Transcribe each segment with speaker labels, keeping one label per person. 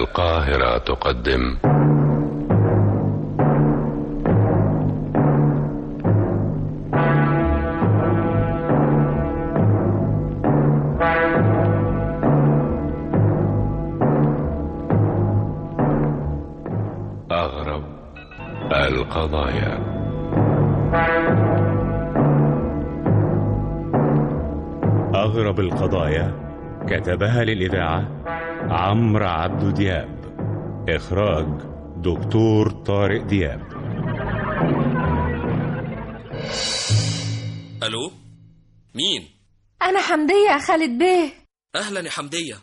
Speaker 1: القاهرة تقدم أغرب القضايا
Speaker 2: أغرب القضايا كتبها للإذاعة عمرو عبد دياب إخراج دكتور طارق دياب
Speaker 3: الو مين
Speaker 4: أنا حمدية يا خالد بيه
Speaker 3: اهلا يا حمديه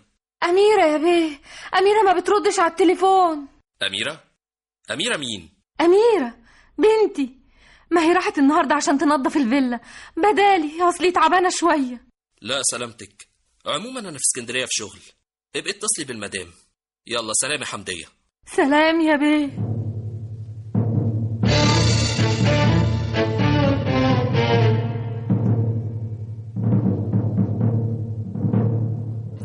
Speaker 4: أميرة يا بيه أميرة ما بتردش على التليفون
Speaker 3: اميره اميره مين
Speaker 4: أميرة بنتي ما هي راحت النهاردة عشان تنظف الفيلا بدالي أصلي تعبانة شوية
Speaker 3: لا سلامتك عموما انا في اسكندريه في شغل ابقي اتصلي بالمدام يلا سلام يا حمديه
Speaker 4: سلام يا بيه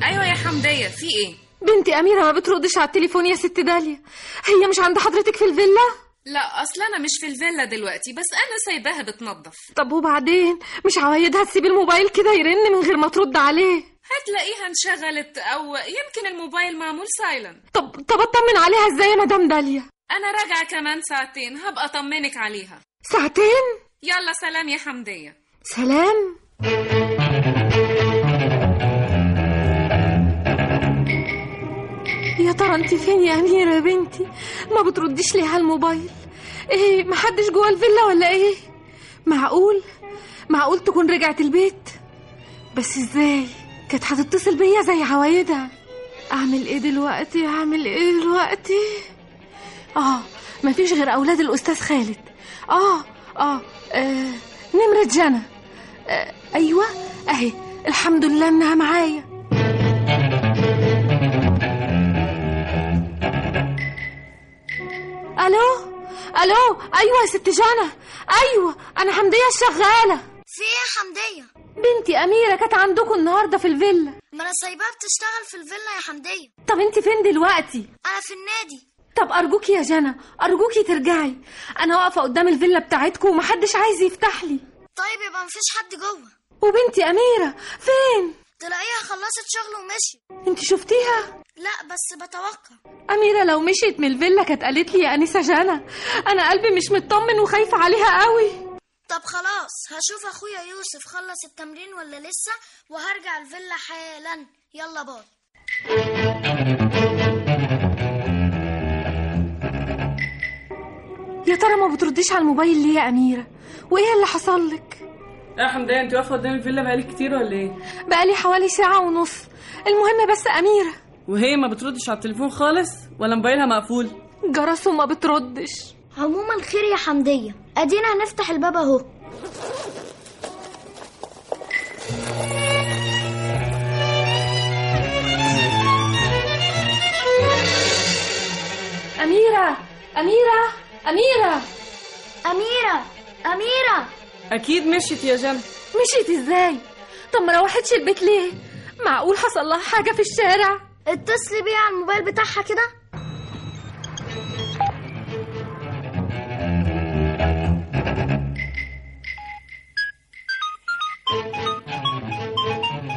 Speaker 5: ايوه يا حمديه في ايه
Speaker 4: بنتي أميرة ما بتردش على التليفون يا ست داليا هي مش عند حضرتك في الفيلا
Speaker 5: لا اصل انا مش في الفيلا دلوقتي بس انا سايباها بتنظف
Speaker 4: طب وبعدين مش عوايدها تسيب الموبايل كده يرن من غير ما ترد عليه
Speaker 5: هتلاقيها انشغلت او يمكن الموبايل معمول سايلنت
Speaker 4: طب طب اطمن عليها ازاي يا مدام داليا
Speaker 5: انا راجعه كمان ساعتين هبقى اطمنك عليها
Speaker 4: ساعتين
Speaker 5: يلا سلام يا حمديه
Speaker 4: سلام يا ترى انت فين يا أميرة يا بنتي ما بترديش ليه على الموبايل ايه محدش جوه الفيلا ولا ايه معقول معقول تكون رجعت البيت بس ازاي كانت هتتصل بيا زي عوايدها اعمل ايه دلوقتي اعمل ايه دلوقتي اه مفيش غير اولاد الاستاذ خالد اه اه, آه نمرة جنى آه ايوه اهي الحمد لله انها معايا الو الو ايوه يا ست جنى ايوه انا حمديه الشغاله
Speaker 6: في ايه يا حمدية؟
Speaker 4: بنتي اميره كانت عندكم النهارده في الفيلا
Speaker 6: ما انا سايباها بتشتغل في الفيلا يا حمدية
Speaker 4: طب انت فين دلوقتي
Speaker 6: انا في النادي
Speaker 4: طب ارجوكي يا جنى ارجوكي ترجعي انا واقفه قدام الفيلا بتاعتكم ومحدش عايز يفتح لي
Speaker 6: طيب يبقى مفيش حد جوه
Speaker 4: وبنتي اميره فين
Speaker 6: تلاقيها خلصت شغل ومشي
Speaker 4: انت شفتيها
Speaker 6: لا بس بتوقع
Speaker 4: اميره لو مشيت من الفيلا كانت قالت لي يا انسه جنى انا قلبي مش مطمن وخايفه عليها قوي
Speaker 6: طب خلاص هشوف اخويا يوسف خلص التمرين ولا لسه وهرجع الفيلا حالا يلا باي
Speaker 4: يا ترى ما بترديش على الموبايل ليه يا اميره وايه اللي حصل لك
Speaker 7: يا حمدية انت واقفة قدام الفيلا بقالك كتير ولا ايه؟
Speaker 4: بقالي حوالي ساعه ونص المهم بس اميره
Speaker 7: وهي ما بتردش على التليفون خالص ولا موبايلها مقفول؟
Speaker 4: جرس وما بتردش
Speaker 6: عموما خير يا حمدية ادينا هنفتح الباب اهو
Speaker 4: اميره اميره اميره
Speaker 6: اميرة اميرة
Speaker 7: أكيد مشيت يا جنى
Speaker 4: مشيت ازاي طب ما روحتش البيت ليه معقول حصل لها حاجه في الشارع
Speaker 6: اتصلي بيها على الموبايل بتاعها كده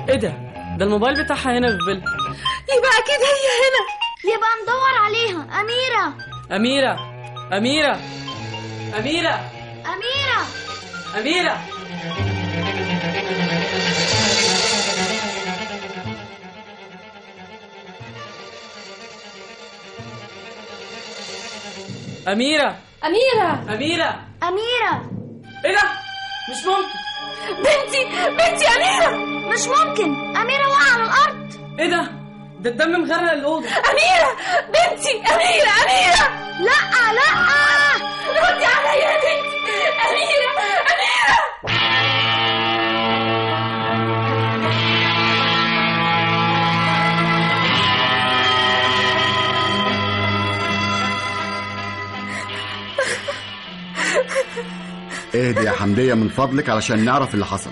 Speaker 7: ايه ده؟ ده الموبايل بتاعها هنا في الفيلا
Speaker 4: يبقى اكيد هي هنا
Speaker 6: يبقى ندور عليها اميرة
Speaker 7: أميرة أميرة أميرة
Speaker 6: اميرة
Speaker 7: أميرة أميرة
Speaker 4: اميره
Speaker 7: أميرة
Speaker 6: اميرة
Speaker 7: إيه ده؟ مش ممكن
Speaker 4: بنتي بنتي اميره
Speaker 6: مش ممكن اميرة وقع على الارض
Speaker 7: إيه ده؟ ده الدم مغرق الأوضة
Speaker 4: اميره بنتي اميره اميره
Speaker 6: لا لا
Speaker 4: ردي عليا يا بنتي اميره اميره
Speaker 8: اهدي ايه يا حمدية من فضلك علشان نعرف اللي حصل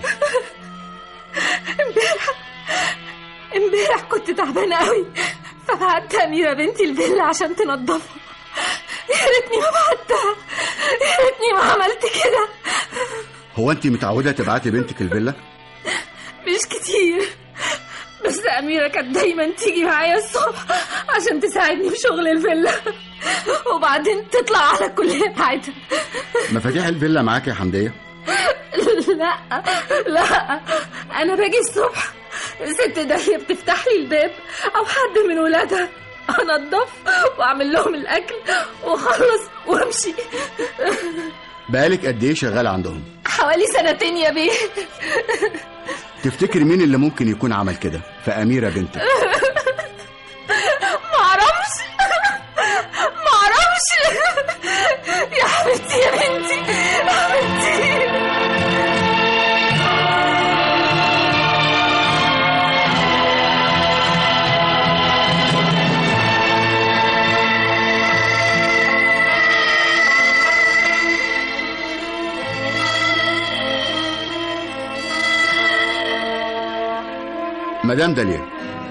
Speaker 4: امبارح كنت تعبانه قوي فبقى بعتها أميرة بنتي الفيلا عشان تنضفها يا ريتني ما بعتها يا ريتني ما عملت كده
Speaker 8: هو انت متعوده تبعتي بنتك الفيلا
Speaker 4: مش كتير بس أميرة كانت دايما تيجي معايا الصبح عشان تساعدني في شغل الفيلا وبعدين تطلع على الكلية بتاعتها
Speaker 8: مفاتيح الفيلا معاك يا حمديه
Speaker 4: لا لا انا باجي الصبح ست داهيه بتفتح لي الباب او حد من ولادها انضف واعمل لهم الاكل واخلص وامشي
Speaker 8: بقالك قد ايه شغاله عندهم
Speaker 4: حوالي سنتين يا بيه
Speaker 8: تفتكري مين اللي ممكن يكون عمل كده فاميره بنتك
Speaker 4: معرفش معرفش يا حبيبتي يا بنتي يا حبيبتي
Speaker 8: مدام داليا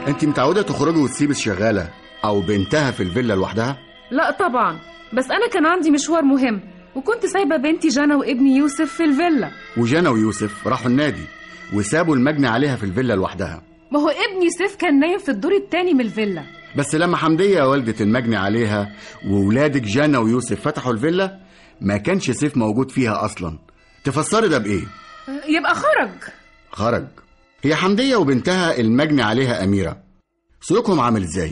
Speaker 8: انت متعوده تخرجي وتسيبي الشغاله او بنتها في الفيلا لوحدها
Speaker 7: لا طبعا بس أنا كان عندي مشوار مهم وكنت سايبة بنتي جانا وابني يوسف في الفيلا
Speaker 8: وجانا ويوسف راحوا النادي وسابوا المجني عليها في الفيلا لوحدها
Speaker 7: ما هو ابني سيف كان نايم في الدور التاني من الفيلا
Speaker 8: بس لما حمديه والده المجني عليها وولادك جانا ويوسف فتحوا الفيلا ما كانش سيف موجود فيها اصلا تفسري ده بايه
Speaker 7: يبقى خرج
Speaker 8: خرج هي حمديه وبنتها المجني عليها اميره سلوكهم عامل ازاي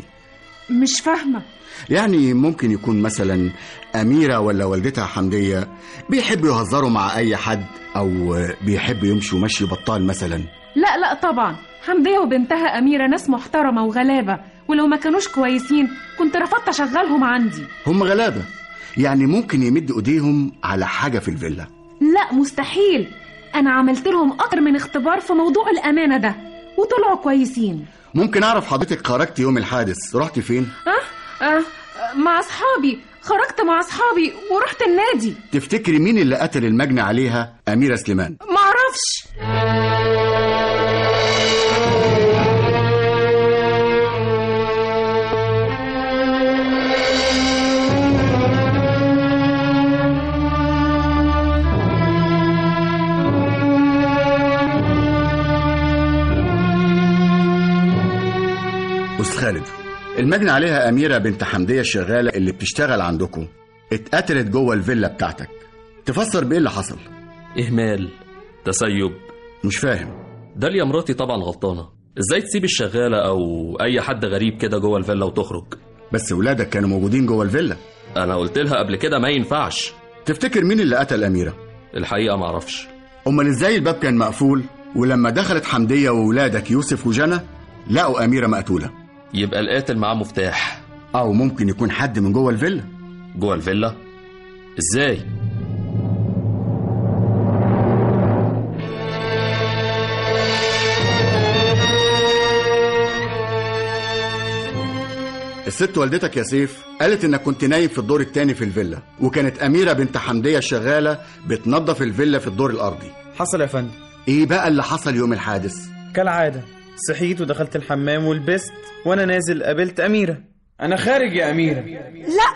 Speaker 7: مش فاهمة
Speaker 8: يعني ممكن يكون مثلا أميرة ولا والدتها حمدية بيحبوا يهزروا مع أي حد أو بيحبوا يمشوا مشي بطال مثلا
Speaker 7: لا لا طبعا حمدية وبنتها أميرة ناس محترمة وغلابة ولو ما كانوش كويسين كنت رفضت أشغلهم عندي
Speaker 8: هم غلابة يعني ممكن يمد إيديهم على حاجة في الفيلا
Speaker 7: لا مستحيل أنا عملت لهم أكتر من اختبار في موضوع الأمانة ده وطلعوا كويسين
Speaker 8: ممكن أعرف حضرتك خرجت يوم الحادث رحت فين؟
Speaker 7: أه؟ أه؟ مع أصحابي خرجت مع أصحابي ورحت النادي
Speaker 8: تفتكري مين اللي قتل المجني عليها أميرة سليمان؟
Speaker 7: معرفش
Speaker 8: أستاذ خالد المجني عليها أميرة بنت حمدية الشغالة اللي بتشتغل عندكم اتقتلت جوه الفيلا بتاعتك تفسر بإيه اللي حصل؟
Speaker 3: إهمال تسيب
Speaker 8: مش فاهم
Speaker 3: داليا مراتي طبعا غلطانة ازاي تسيب الشغالة أو أي حد غريب كده جوه الفيلا وتخرج
Speaker 8: بس ولادك كانوا موجودين جوه الفيلا
Speaker 3: أنا قلت لها قبل كده ما ينفعش
Speaker 8: تفتكر مين اللي قتل أميرة؟
Speaker 3: الحقيقة معرفش
Speaker 8: أمال إزاي الباب كان مقفول ولما دخلت حمدية وولادك يوسف وجنى لقوا أميرة مقتولة
Speaker 3: يبقى القاتل معاه مفتاح
Speaker 8: أو ممكن يكون حد من جوه الفيلا
Speaker 3: جوه الفيلا ازاي
Speaker 8: الست والدتك يا سيف قالت إنك كنت نايم في الدور التاني في الفيلا وكانت أميرة بنت حمدية الشغالة بتنظف الفيلا في الدور الأرضي
Speaker 9: حصل يا فندم
Speaker 8: إيه بقى اللي حصل يوم الحادث؟
Speaker 9: كالعادة صحيت ودخلت الحمام ولبست وانا نازل قابلت أميرة انا خارج يا أميرة
Speaker 10: لا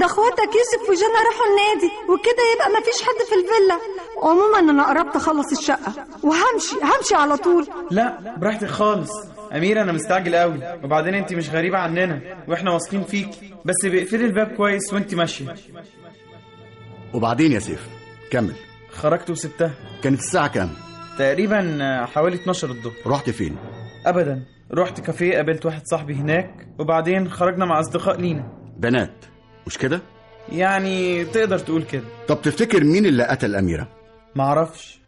Speaker 10: ده اخواتك يوسف وجنى راحوا النادي وكده يبقى مفيش حد في الفيلا عموما انا قربت اخلص الشقه وهمشي همشي على طول
Speaker 9: لا براحتك خالص أميرة أنا مستعجل قوي وبعدين أنت مش غريبة عننا وإحنا واثقين فيك بس بيقفلي الباب كويس وأنت ماشية
Speaker 8: وبعدين يا سيف كمل
Speaker 9: خرجت وسبتها
Speaker 8: كانت الساعة كام؟
Speaker 9: تقريبا آه، حوالي 12 الظهر
Speaker 8: رحت فين؟
Speaker 9: أبدا رحت كافيه قابلت واحد صاحبي هناك وبعدين خرجنا مع أصدقاء لينا
Speaker 8: بنات مش كده؟
Speaker 9: يعني تقدر تقول كده
Speaker 8: طب تفتكر مين اللي قتل أميرة؟
Speaker 9: معرفش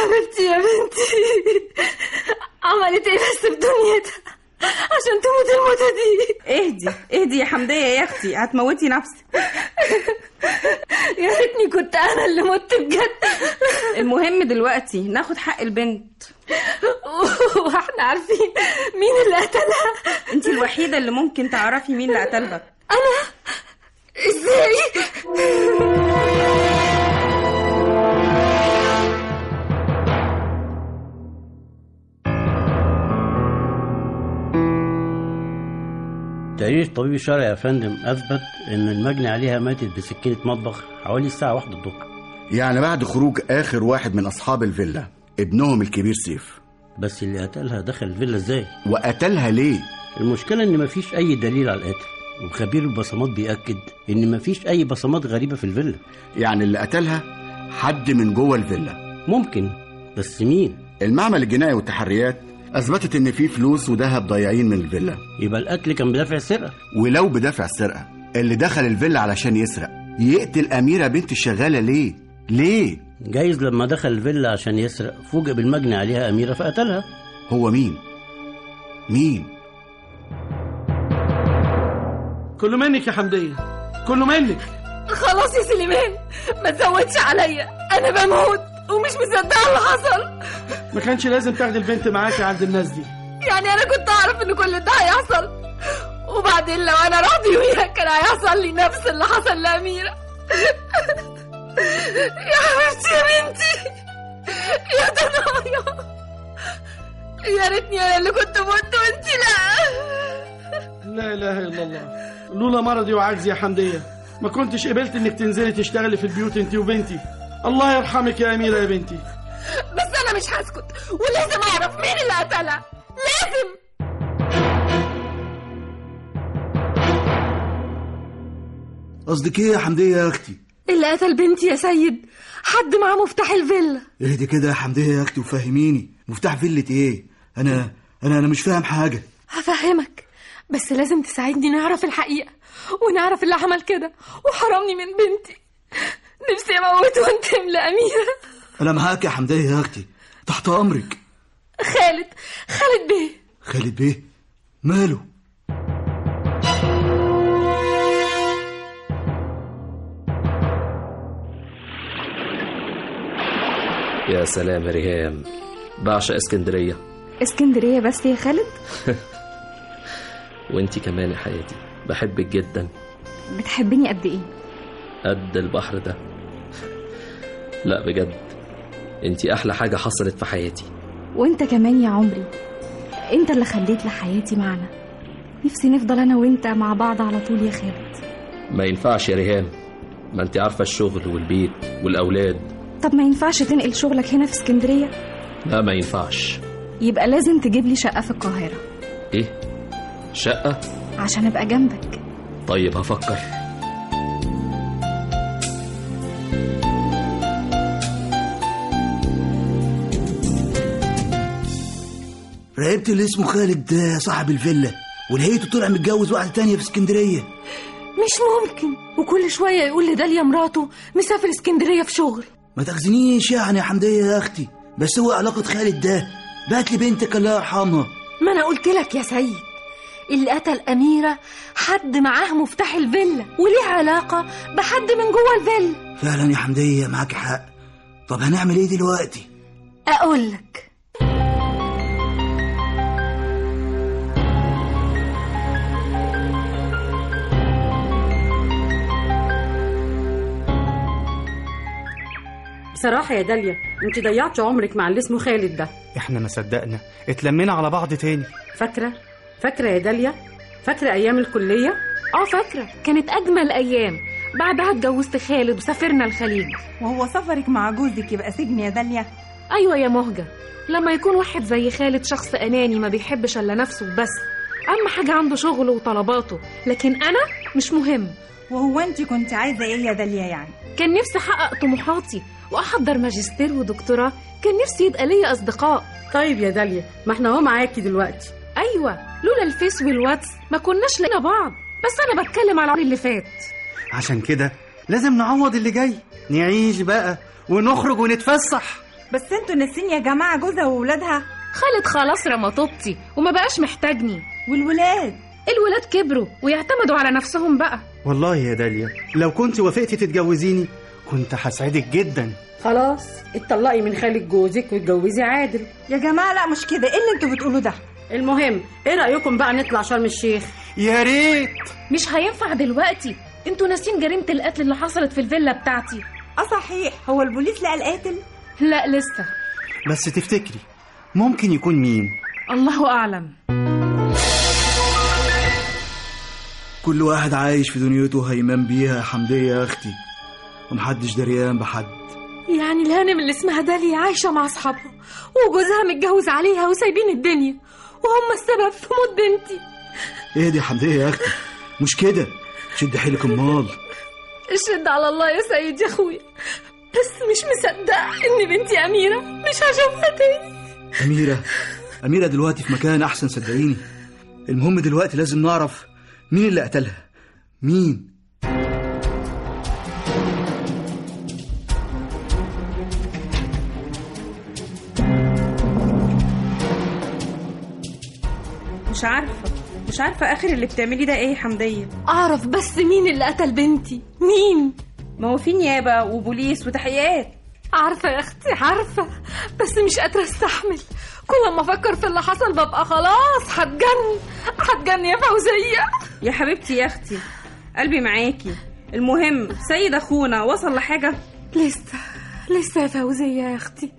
Speaker 4: حبيبتي يا بنتي عملت
Speaker 10: إيه
Speaker 4: ايه بس في دنيتها عشان تموت الموتة دي
Speaker 10: اهدي اهدي يا حمديه يا اختي هتموتي نفسك يا ريتني كنت انا اللي مت بجد
Speaker 11: المهم دلوقتي ناخد حق البنت
Speaker 10: واحنا عارفين مين اللي قتلها
Speaker 11: انت الوحيده اللي ممكن تعرفي مين اللي قتلها
Speaker 10: انا ازاي
Speaker 12: تقرير طبيب الشرعي يا فندم اثبت ان المجني عليها ماتت بسكينه مطبخ حوالي الساعه واحدة الظهر
Speaker 8: يعني بعد خروج آخر واحد من أصحاب الفيلا ابنهم الكبير سيف
Speaker 12: بس اللي قتلها دخل الفيلا ازاي
Speaker 8: وقتلها ليه
Speaker 12: المشكله ان مفيش اي دليل على القتل وخبير البصمات بيأكد ان مفيش اي بصمات غريبه في الفيلا
Speaker 8: يعني اللي قتلها حد من جوه الفيلا
Speaker 12: ممكن بس مين
Speaker 8: المعمل الجنائي والتحريات أثبتت إن في فلوس وذهب ضايعين من الفيلا
Speaker 12: يبقى القتل كان بدافع السرقه
Speaker 8: ولو بدافع السرقة اللي دخل الفيلا علشان يسرق يقتل أميرة بنت الشغالة ليه؟ ليه؟
Speaker 12: جايز لما دخل الفيلا عشان يسرق فوجئ بالمجني عليها اميره فقتلها
Speaker 8: هو مين؟ مين؟
Speaker 13: كله منك يا حمدية كله منك
Speaker 10: خلاص يا سليمان ما تزودش عليا انا بموت ومش مصدقه اللي حصل
Speaker 13: ما كانش لازم تاخدي البنت معاكي عند الناس دي
Speaker 10: يعني انا كنت اعرف ان كل ده هيحصل وبعدين لو انا راضي وياك كان هيحصل لي نفس اللي حصل لاميره يا حبيبتي يا بنتي يا دنايا يا ريتني انا اللي كنت مت وانت لا
Speaker 13: لا اله الا الله لولا مرضي وعجزي يا حمدية ما كنتش قبلت انك تنزلي تشتغلي في البيوت انت وبنتي الله يرحمك يا اميرة يا بنتي
Speaker 10: بس انا مش هسكت ولازم اعرف مين اللي قتلها لازم
Speaker 14: قصدك ايه يا حمديه يا اختي
Speaker 4: اللي قتل بنتي يا سيد حد معاه مفتاح الفيلا
Speaker 14: اهدي كده يا حمديه يا اختي وفهميني مفتاح فيلة ايه انا انا انا مش فاهم حاجه
Speaker 4: هفهمك بس لازم تساعدني نعرف الحقيقة ونعرف اللي عمل كده وحرمني من بنتي نفسي اموت وانتم لأميرة
Speaker 14: انا معاك يا حمديه يا اختي تحت امرك
Speaker 4: خالد خالد بيه
Speaker 14: خالد بيه ماله
Speaker 3: يا سلام يا ريهام بعشق اسكندرية
Speaker 11: اسكندريه بس يا خالد
Speaker 3: وانتي كمان يا حياتي بحبك جدا
Speaker 11: بتحبني قد ايه
Speaker 3: قد البحر ده لا بجد انتي احلى حاجة حصلت في حياتي
Speaker 11: وانت كمان يا عمري انت اللي خليت لحياتي معنى نفسي نفضل انا وانت مع بعض على طول يا خالد
Speaker 3: ما ينفعش يا ريهام ما انتي عارفة الشغل والبيت والأولاد
Speaker 11: طب ما ينفعش تنقل شغلك هنا في اسكندريه
Speaker 3: لا ما ينفعش
Speaker 11: يبقى لازم تجيب لي شقه في القاهره
Speaker 3: ايه شقة
Speaker 11: عشان ابقى جنبك
Speaker 3: طيب هفكر
Speaker 14: راقبت اللي اسمه خالد ده صاحب الفيلا ولقيته طلع متجوز واحده تانية في اسكندريه
Speaker 4: مش ممكن وكل شوية يقول لي داليا مراته مسافر اسكندرية في شغل
Speaker 14: ما تاخذنيش يعني يا حمديه يا اختي بس هو علاقه خالد ده بعت لي بنتك الله يرحمها
Speaker 4: ما انا قلت لك يا سيد اللي قتل أميرة حد معاه مفتاح الفيلا وليه علاقة بحد من جوه الفيلا
Speaker 14: فعلا يا حمديه معاك حق طب هنعمل ايه دلوقتي
Speaker 4: أقول لك
Speaker 15: بصراحه يا داليا انت ضيعتي عمرك مع اللي اسمه خالد ده
Speaker 16: احنا ما صدقنا اتلمينا على بعض تاني
Speaker 15: فاكره فاكره يا داليا فاكره ايام الكليه
Speaker 7: اه فاكرة كانت أجمل أيام بعدها اتجوزت خالد وسافرنا الخليج
Speaker 17: وهو سفرك مع جوزك يبقى سجن يا داليا
Speaker 7: أيوة يا مهجة لما يكون واحد زي خالد شخص أناني ما بيحبش إلا نفسه بس أهم حاجة عنده شغله وطلباته لكن أنا مش مهم
Speaker 17: وهو انت كنت عايزه ايه يا داليا يعني
Speaker 7: كان نفسي أحقق طموحاتي وأحضر ماجستير ودكتوراه كان نفسي يبقى ليا أصدقاء
Speaker 15: طيب يا داليا ما احنا اهو معاكي دلوقتي
Speaker 7: أيوة لولا الفيس والواتس ما كناش لقينا بعض بس أنا بتكلم على العمر اللي فات
Speaker 16: عشان كده لازم نعوض اللي جاي نعيش بقى ونخرج ونتفسح
Speaker 17: بس انتوا ناسين يا جماعه جوزها وولادها
Speaker 7: خالد خلاص رمى طوبتي وما بقاش محتاجني
Speaker 17: والولاد
Speaker 7: الولاد كبروا ويعتمدوا على نفسهم بقى
Speaker 16: والله يا داليا لو كنت وافقتي تتجوزيني كنت هسعدك جدا
Speaker 15: خلاص اتطلقي من خالد جوزك واتجوزي عادل
Speaker 17: يا جماعه لا مش كده ايه اللي انتوا بتقولوا ده
Speaker 15: المهم ايه رايكم بقى نطلع شرم الشيخ
Speaker 16: يا ريت
Speaker 7: مش هينفع دلوقتي انتوا ناسين جريمه القتل اللي حصلت في الفيلا بتاعتي
Speaker 17: اه صحيح هو البوليس لقى القاتل
Speaker 7: لا لسه
Speaker 16: بس تفتكري ممكن يكون مين
Speaker 7: الله اعلم
Speaker 14: كل واحد عايش في دنيته هيمام بيها يا حمدية يا أختي ومحدش دريان بحد
Speaker 4: يعني الهانم اللي اسمها داليا عايشة مع أصحابها وجوزها متجوز عليها وسايبين الدنيا وهم السبب في موت بنتي
Speaker 14: اهدي يا حمدية يا أختي مش كده شد حيلك امال
Speaker 4: الشد على الله يا سيد يا أخويا بس مش مصدقة إن بنتي أميرة مش هشوفها تاني
Speaker 14: أميرة أميرة دلوقتي في مكان أحسن صدقيني المهم دلوقتي لازم نعرف مين اللي قتلها مين
Speaker 17: مش عارفه مش عارفه اخر اللي بتعملي ده ايه يا حمديه
Speaker 4: أعرف بس مين اللي قتل بنتي مين
Speaker 17: ما هو في نيابه وبوليس وتحقيقات
Speaker 4: عارفة يا أختي عارفة بس مش قادرة استحمل كل ما أفكر في اللي حصل ببقى خلاص هتجن هتجن يا فوزية
Speaker 17: يا حبيبتي يا اختي قلبي معاكي المهم سيد اخونا وصل لحاجه
Speaker 4: لسه لسه يا فوزية يا أختي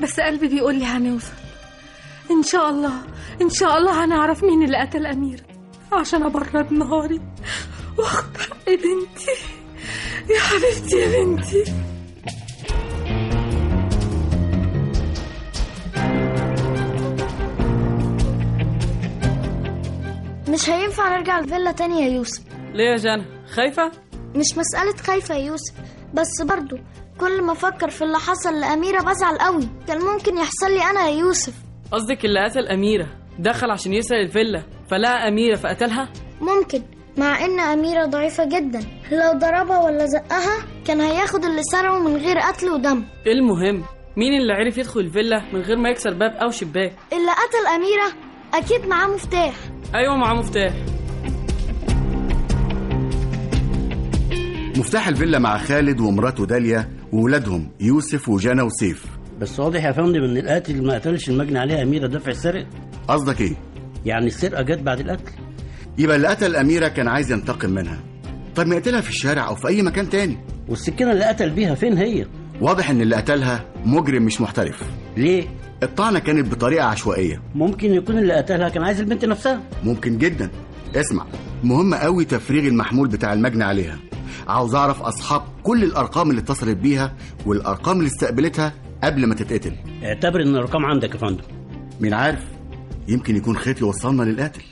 Speaker 4: بس قلبي بيقول لي هنوصل إن شاء الله إن شاء الله هنعرف مين اللي قتل أميرة عشان أبرد نهاري وأخد حق بنتي يا حبيبتي يا بنتي
Speaker 6: مش هينفع نرجع الفيلا تاني يا يوسف
Speaker 18: ليه يا جنى خايفة؟
Speaker 6: مش مسألة خايفة يا يوسف بس برضو كل ما أفكر في اللي حصل لأميرة بزعل قوي كان ممكن يحصل لي أنا يا يوسف
Speaker 18: قصدك اللي قتل أميرة دخل عشان يسرق الفيلا فلقى أميرة فقتلها؟
Speaker 6: ممكن مع إن أميرة ضعيفة جدا لو ضربها ولا زقها كان هياخد اللي سرقه من غير قتل ودم
Speaker 18: إيه المهم؟ مين اللي عرف يدخل الفيلا من غير ما يكسر باب أو شباك؟
Speaker 6: اللي قتل أميرة أكيد معاه مفتاح
Speaker 18: أيوة معاه مفتاح
Speaker 8: مفتاح الفيلا مع خالد ومراته داليا وولادهم يوسف وجانا وسيف
Speaker 12: بس واضح يا فندم ان القاتل ما قتلش المجني عليه اميره دفع السرقه
Speaker 8: قصدك ايه؟
Speaker 12: يعني السرقه جت بعد القتل
Speaker 8: يبقى اللي قتل أميرة كان عايز ينتقم منها طب ما يقتلها في الشارع أو في أي مكان تاني
Speaker 12: والسكينه اللي قتل بيها فين هي؟
Speaker 8: واضح إن اللي قتلها مجرم مش محترف
Speaker 12: ليه؟
Speaker 8: الطعنة كانت بطريقة عشوائية
Speaker 12: ممكن يكون اللي قتلها كان عايز البنت نفسها
Speaker 8: ممكن جدا اسمع مهم قوي تفريغ المحمول بتاع المجني عليها عاوز أعرف أصحاب كل الأرقام اللي اتصلت بيها والأرقام اللي استقبلتها قبل ما تتقتل
Speaker 12: اعتبر ان الارقام عندك يا فندم
Speaker 8: مين عارف يمكن يكون خيط يوصلنا للقاتل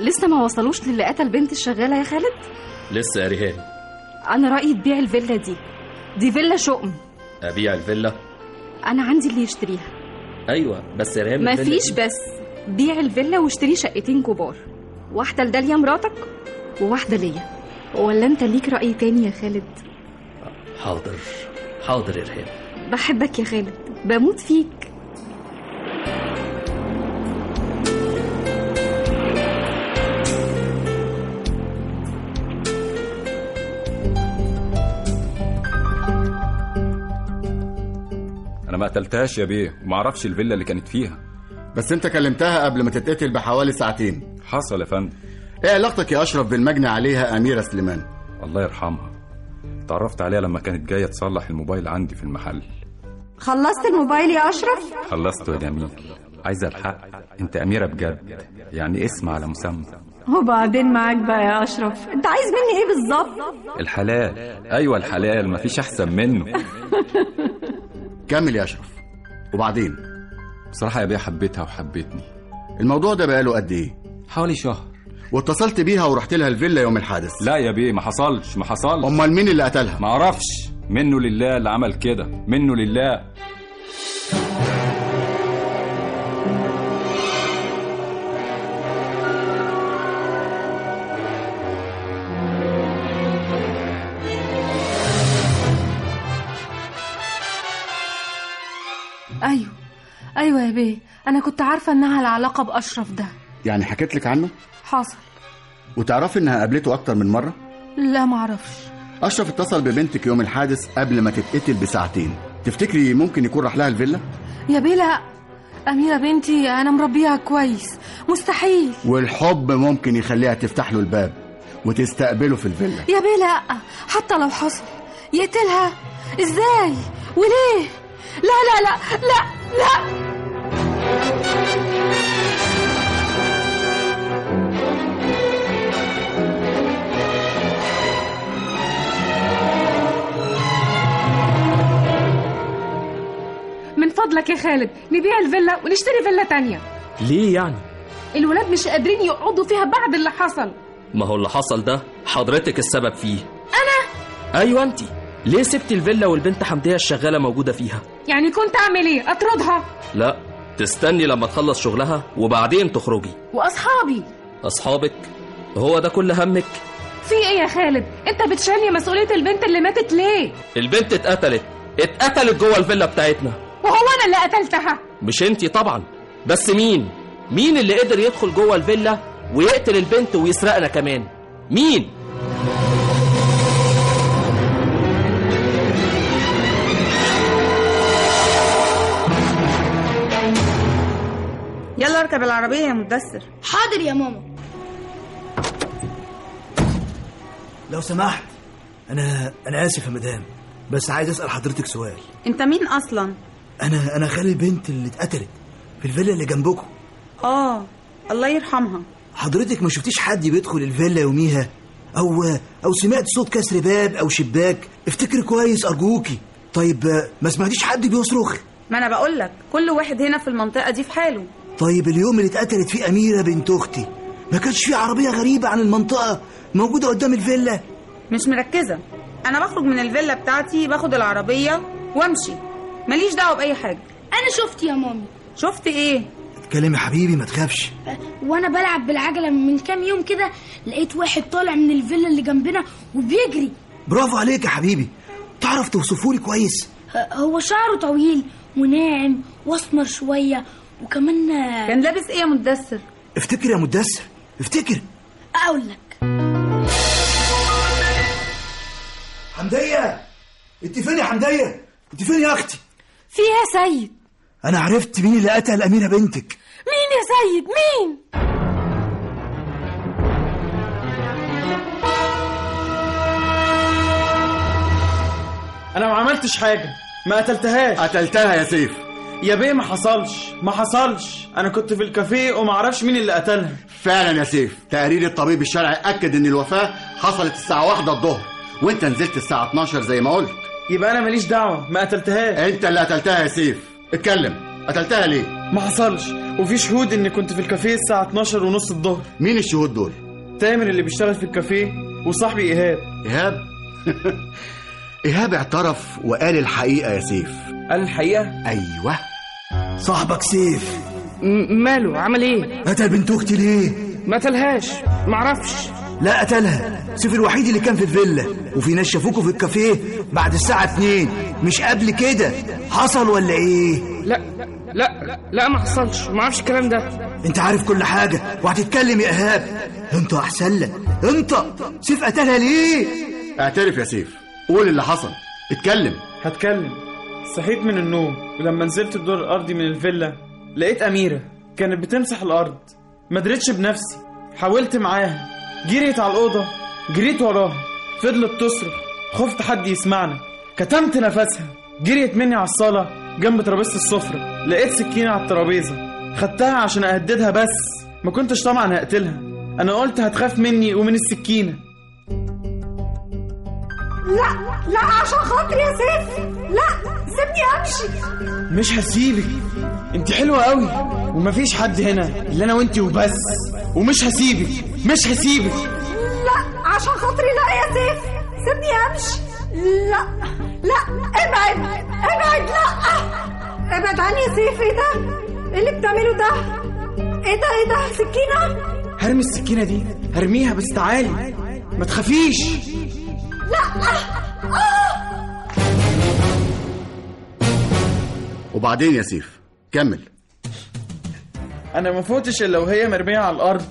Speaker 11: لسه ما وصلوش للي قتل بنت الشغاله يا خالد
Speaker 3: لسه يا ريهان
Speaker 11: انا رايي تبيع الفيلا دي دي فيلا شؤم
Speaker 3: أبيع الفيلا؟
Speaker 11: انا عندي اللي يشتريها
Speaker 3: أيوة بس يا ريهان الفيلا
Speaker 11: مفيش
Speaker 3: دي-
Speaker 11: بس بيع الفيلا واشتري شقتين كبار واحده لداليا مراتك وواحده ليا ولا انت ليك راي تاني يا خالد
Speaker 3: حاضر حاضر يا ريهان
Speaker 11: بحبك يا خالد بموت فيك
Speaker 19: انا ما قتلتهاش يا بيه وما اعرفش الفيلا اللي كانت فيها
Speaker 8: بس أنت كلمتها قبل ما تتقتل بحوالي ساعتين
Speaker 19: حصل يا فندم
Speaker 8: إيه علاقتك يا أشرف بالمجني عليها أميرة سليمان؟
Speaker 19: الله يرحمها تعرفت عليها لما كانت جايه تصلح الموبايل عندي في المحل
Speaker 10: خلصت الموبايل يا أشرف؟
Speaker 19: خلصته يا جميل عايزه الحق انت اميره بجد يعني اسم على مسمى
Speaker 10: وبعدين معاك بقى يا أشرف أنت عايز مني إيه بالظبط؟
Speaker 19: الحلال ايوه الحلال مفيش احسن منه
Speaker 8: كمل يا أشرف وبعدين
Speaker 19: بصراحة يا بيه حبيتها وحبيتني
Speaker 8: الموضوع ده بقاله قد إيه؟
Speaker 19: حوالي شهر
Speaker 8: واتصلت بيها ورحت لها الفيلا يوم الحادث
Speaker 19: لا يا بيه ما حصلش ما حصلش
Speaker 8: أمال مين اللي قتلها؟
Speaker 19: ما اعرفش منه لله اللي عمل كده منه لله
Speaker 11: ايوه
Speaker 4: ايوه يا بيه انا كنت عارفه انها العلاقه باشرف ده
Speaker 8: يعني حكيت لك عنه
Speaker 4: حصل
Speaker 8: وتعرفي انها قابلته اكتر من مره
Speaker 4: لا معرفش
Speaker 8: اشرف اتصل ببنتك يوم الحادث قبل ما تتقتل بساعتين تفتكري ممكن يكون راح لها الفيلا
Speaker 4: يا بيه لا اميره بنتي انا مربيها كويس مستحيل
Speaker 8: والحب ممكن يخليها تفتح له الباب وتستقبله في الفيلا
Speaker 4: يا بيه لا حتى لو حصل يقتلها ازاي وليه لا لا لا لا لا
Speaker 7: من فضلك يا خالد نبيع الفيلا ونشتري فيلا تانية
Speaker 3: ليه يعني؟
Speaker 7: الولاد مش قادرين يقعدوا فيها بعد اللي حصل
Speaker 3: ما هو اللي حصل ده حضرتك السبب فيه أنا؟ أيوة أنت ليه سبت الفيلا والبنت حمدية الشغالة موجودة فيها؟
Speaker 7: يعني كنت أعمل إيه أطردها
Speaker 3: لا تستني لما تخلص شغلها وبعدين تخرجي
Speaker 7: وأصحابي
Speaker 3: أصحابك هو ده كل همك؟
Speaker 7: في إيه يا خالد أنت بتشيلني مسؤولية البنت اللي ماتت ليه
Speaker 3: البنت اتقتلت اتقتلت جوه الفيلا بتاعتنا
Speaker 7: وهو أنا اللي قتلتها
Speaker 3: مش انتي طبعا بس مين مين اللي قدر يدخل جوه الفيلا ويقتل البنت ويسرقنا كمان مين
Speaker 17: يلا اركب العربية يا مدثر
Speaker 6: حاضر يا ماما
Speaker 14: لو سمحت انا انا اسف يا مدام بس عايز اسال حضرتك سؤال
Speaker 17: انت مين اصلا
Speaker 14: انا انا خالي البنت اللي اتقتلت في الفيلا اللي جنبكم
Speaker 17: اه الله يرحمها
Speaker 14: حضرتك ما شفتيش حد بيدخل الفيلا يوميها او او سمعت صوت كسر باب او شباك افتكري كويس ارجوكي طيب آه، ما سمعتيش حد بيصرخ
Speaker 17: ما انا بقول لك كل واحد هنا في المنطقة دي في حاله
Speaker 14: طيب اليوم اللي اتقتلت فيه اميره بنت اختي ما كانش في عربيه غريبه عن المنطقه موجوده قدام الفيلا
Speaker 17: مش مركزة انا بخرج من الفيلا بتاعتي باخد العربية وامشي ماليش دعوة بأي حاجة
Speaker 6: انا شفت يا ماما
Speaker 17: شفت ايه
Speaker 14: اتكلم يا حبيبي ما تخافش
Speaker 6: وانا بلعب بالعجله من كام يوم كده لقيت واحد طالع من الفيلا اللي جنبنا وبيجري
Speaker 14: برافو عليك يا حبيبي تعرف توصفه لي كويس
Speaker 6: ه- أه، هو شعره طويل وناعم واسمر شويه وكمان أه، كان
Speaker 17: لابس ايه يا مدثر
Speaker 14: افتكر يا مدثر افتكر
Speaker 6: اقول لك
Speaker 14: حمديه انت فين يا حمديه انت فين يا اختي
Speaker 4: في إيه يا سيد
Speaker 14: انا عرفت مين اللي قتل اميره بنتك
Speaker 4: مين يا سيد مين
Speaker 9: انا ما عملتش حاجه ما قتلتهاش
Speaker 8: قتلتها يا سيف
Speaker 9: يا بيه ما حصلش ما حصلش انا كنت في الكافيه وما اعرفش مين اللي قتلها
Speaker 8: فعلا يا سيف تقرير الطبيب الشرعي اكد ان الوفاه حصلت الساعه واحدة الظهر وانت نزلت الساعه 12 زي ما قلت
Speaker 9: يبقى انا ماليش دعوه ما قتلتهاش
Speaker 8: انت اللي قتلتها يا سيف اتكلم قتلتها ليه
Speaker 9: ما حصلش وفي شهود اني كنت في الكافيه الساعه 12 ونص الظهر
Speaker 8: مين الشهود دول
Speaker 9: تامر اللي بيشتغل في الكافيه وصاحبي ايهاب
Speaker 8: ايهاب ايهاب اعترف وقال الحقيقه يا سيف
Speaker 9: قال الحقيقه
Speaker 8: ايوه
Speaker 14: صاحبك سيف
Speaker 18: ماله عمل ايه
Speaker 14: قتل بنت اختي ليه
Speaker 18: ما قتلهاش معرفش
Speaker 14: لا قتلها سيف الوحيد اللي كان في الفيلا وفي ناس شافوكوا في الكافيه بعد الساعه 2 مش قبل كده حصل ولا ايه
Speaker 18: لا لا لا ما حصلش ما اعرفش الكلام ده
Speaker 14: انت عارف كل حاجه وهتتكلم يا ايهاب انت احسن لك انت سيف قتلها ليه
Speaker 8: اعترف يا سيف قول اللي حصل اتكلم
Speaker 9: هتكلم صحيت من النوم ولما نزلت الدور الارضي من الفيلا لقيت اميره كانت بتمسح الارض ما قدرتش بنفسي حاولت معاها جريت على الاوضه جريت وراها فضلت تصرخ خفت حد يسمعنا كتمت نفسها جريت مني على الصاله جنب ترابيزه السفره لقيت سكينه على الترابيزه خدتها عشان اهددها بس ما كنتش طبعا هقتلها انا قلت هتخاف مني ومن السكينه
Speaker 10: لا لا عشان خاطري يا سيف لا سيبني امشي
Speaker 9: مش هسيبك انت حلوه قوي ومفيش حد هنا الا انا وانت وبس ومش هسيبك مش هسيبك
Speaker 10: لا عشان خاطري لا يا سيف سيبني امشي لا لا ابعد ابعد لا ابعد عني يا سيف ايه ده ايه اللي بتعمله ده ايه ده ايه ده سكينه
Speaker 9: هرمي السكينه دي هرميها بس تعالي ما تخافيش
Speaker 10: لا آه.
Speaker 8: وبعدين يا سيف كمل
Speaker 9: انا ما فوتش الا وهي مرميه على الارض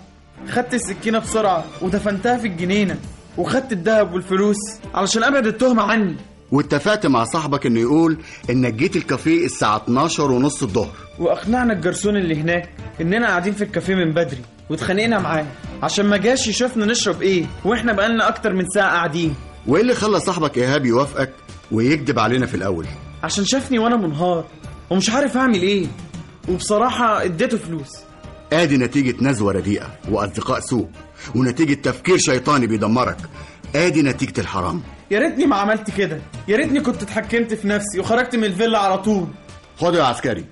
Speaker 9: خدت السكينه بسرعه ودفنتها في الجنينه وخدت الذهب والفلوس علشان ابعد التهمه عني
Speaker 8: واتفقت مع صاحبك انه يقول انك جيت الكافيه الساعه 12 ونص الظهر
Speaker 9: واقنعنا الجرسون اللي هناك اننا قاعدين في الكافيه من بدري واتخانقنا معاه عشان ما جاش يشوفنا نشرب ايه واحنا بقالنا اكتر من ساعه قاعدين
Speaker 8: وايه اللي خلى صاحبك ايهاب يوافقك ويكذب علينا في الاول
Speaker 9: عشان شافني وانا منهار ومش عارف اعمل ايه وبصراحه اديته فلوس
Speaker 8: ادي نتيجه نزوه رديئه واصدقاء سوء ونتيجه تفكير شيطاني بيدمرك ادي نتيجه الحرام
Speaker 9: يا ريتني ما عملت كده يا ريتني كنت اتحكمت في نفسي وخرجت من الفيلا على طول
Speaker 8: خده يا عسكري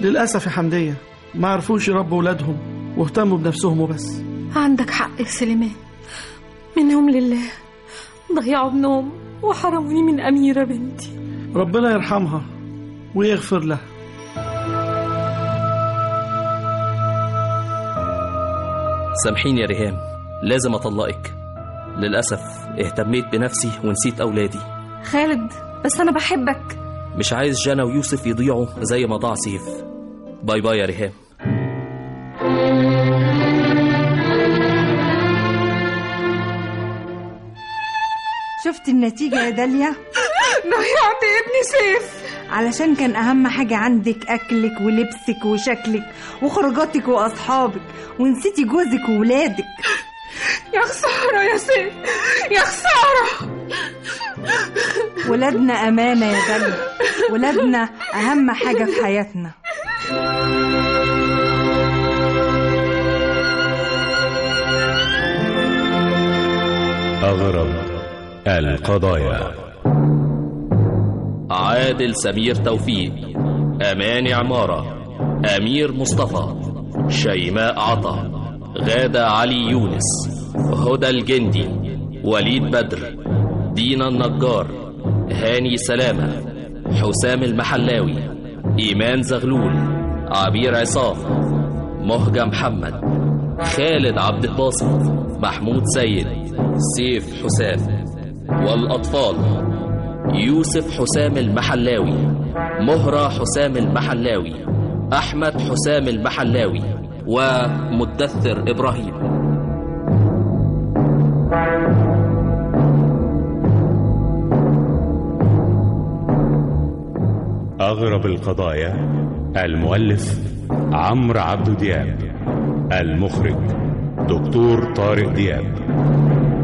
Speaker 13: للأسف يا حمدية ما عرفوش يربوا ولادهم واهتموا بنفسهم وبس
Speaker 4: عندك حق يا سليمان منهم لله ضيعوا ابنهم وحرموني من أميرة بنتي
Speaker 13: ربنا يرحمها ويغفر لها
Speaker 3: سامحيني يا ريهام لازم أطلقك للأسف اهتميت بنفسي ونسيت أولادي
Speaker 7: خالد بس أنا بحبك
Speaker 3: مش عايز جانا ويوسف يضيعوا زي ما ضاع سيف باي باي يا ريهام
Speaker 20: شفت النتيجة يا داليا ضيعت ابني سيف علشان كان أهم حاجة عندك أكلك ولبسك وشكلك وخروجاتك وأصحابك ونسيتي جوزك وولادك
Speaker 10: يا خسارة يا سيف يا خسارة
Speaker 20: ولادنا أمانة يا داليا ولادنا أهم حاجة في حياتنا
Speaker 2: أغرب القضايا
Speaker 3: عادل سمير توفيق أمان عمارة أمير مصطفى شيماء عطا غادة علي يونس هدى الجندي وليد بدر دينا النجار هاني سلامة حسام المحلاوي إيمان زغلول عبير عصام مهجة محمد خالد عبد الباسط محمود سيد سيف حسام والأطفال يوسف حسام المحلاوي مهرة حسام المحلاوي أحمد حسام المحلاوي ومدثر إبراهيم
Speaker 2: أغرب القضايا المؤلف عمرو عبد دياب المخرج دكتور طارق دياب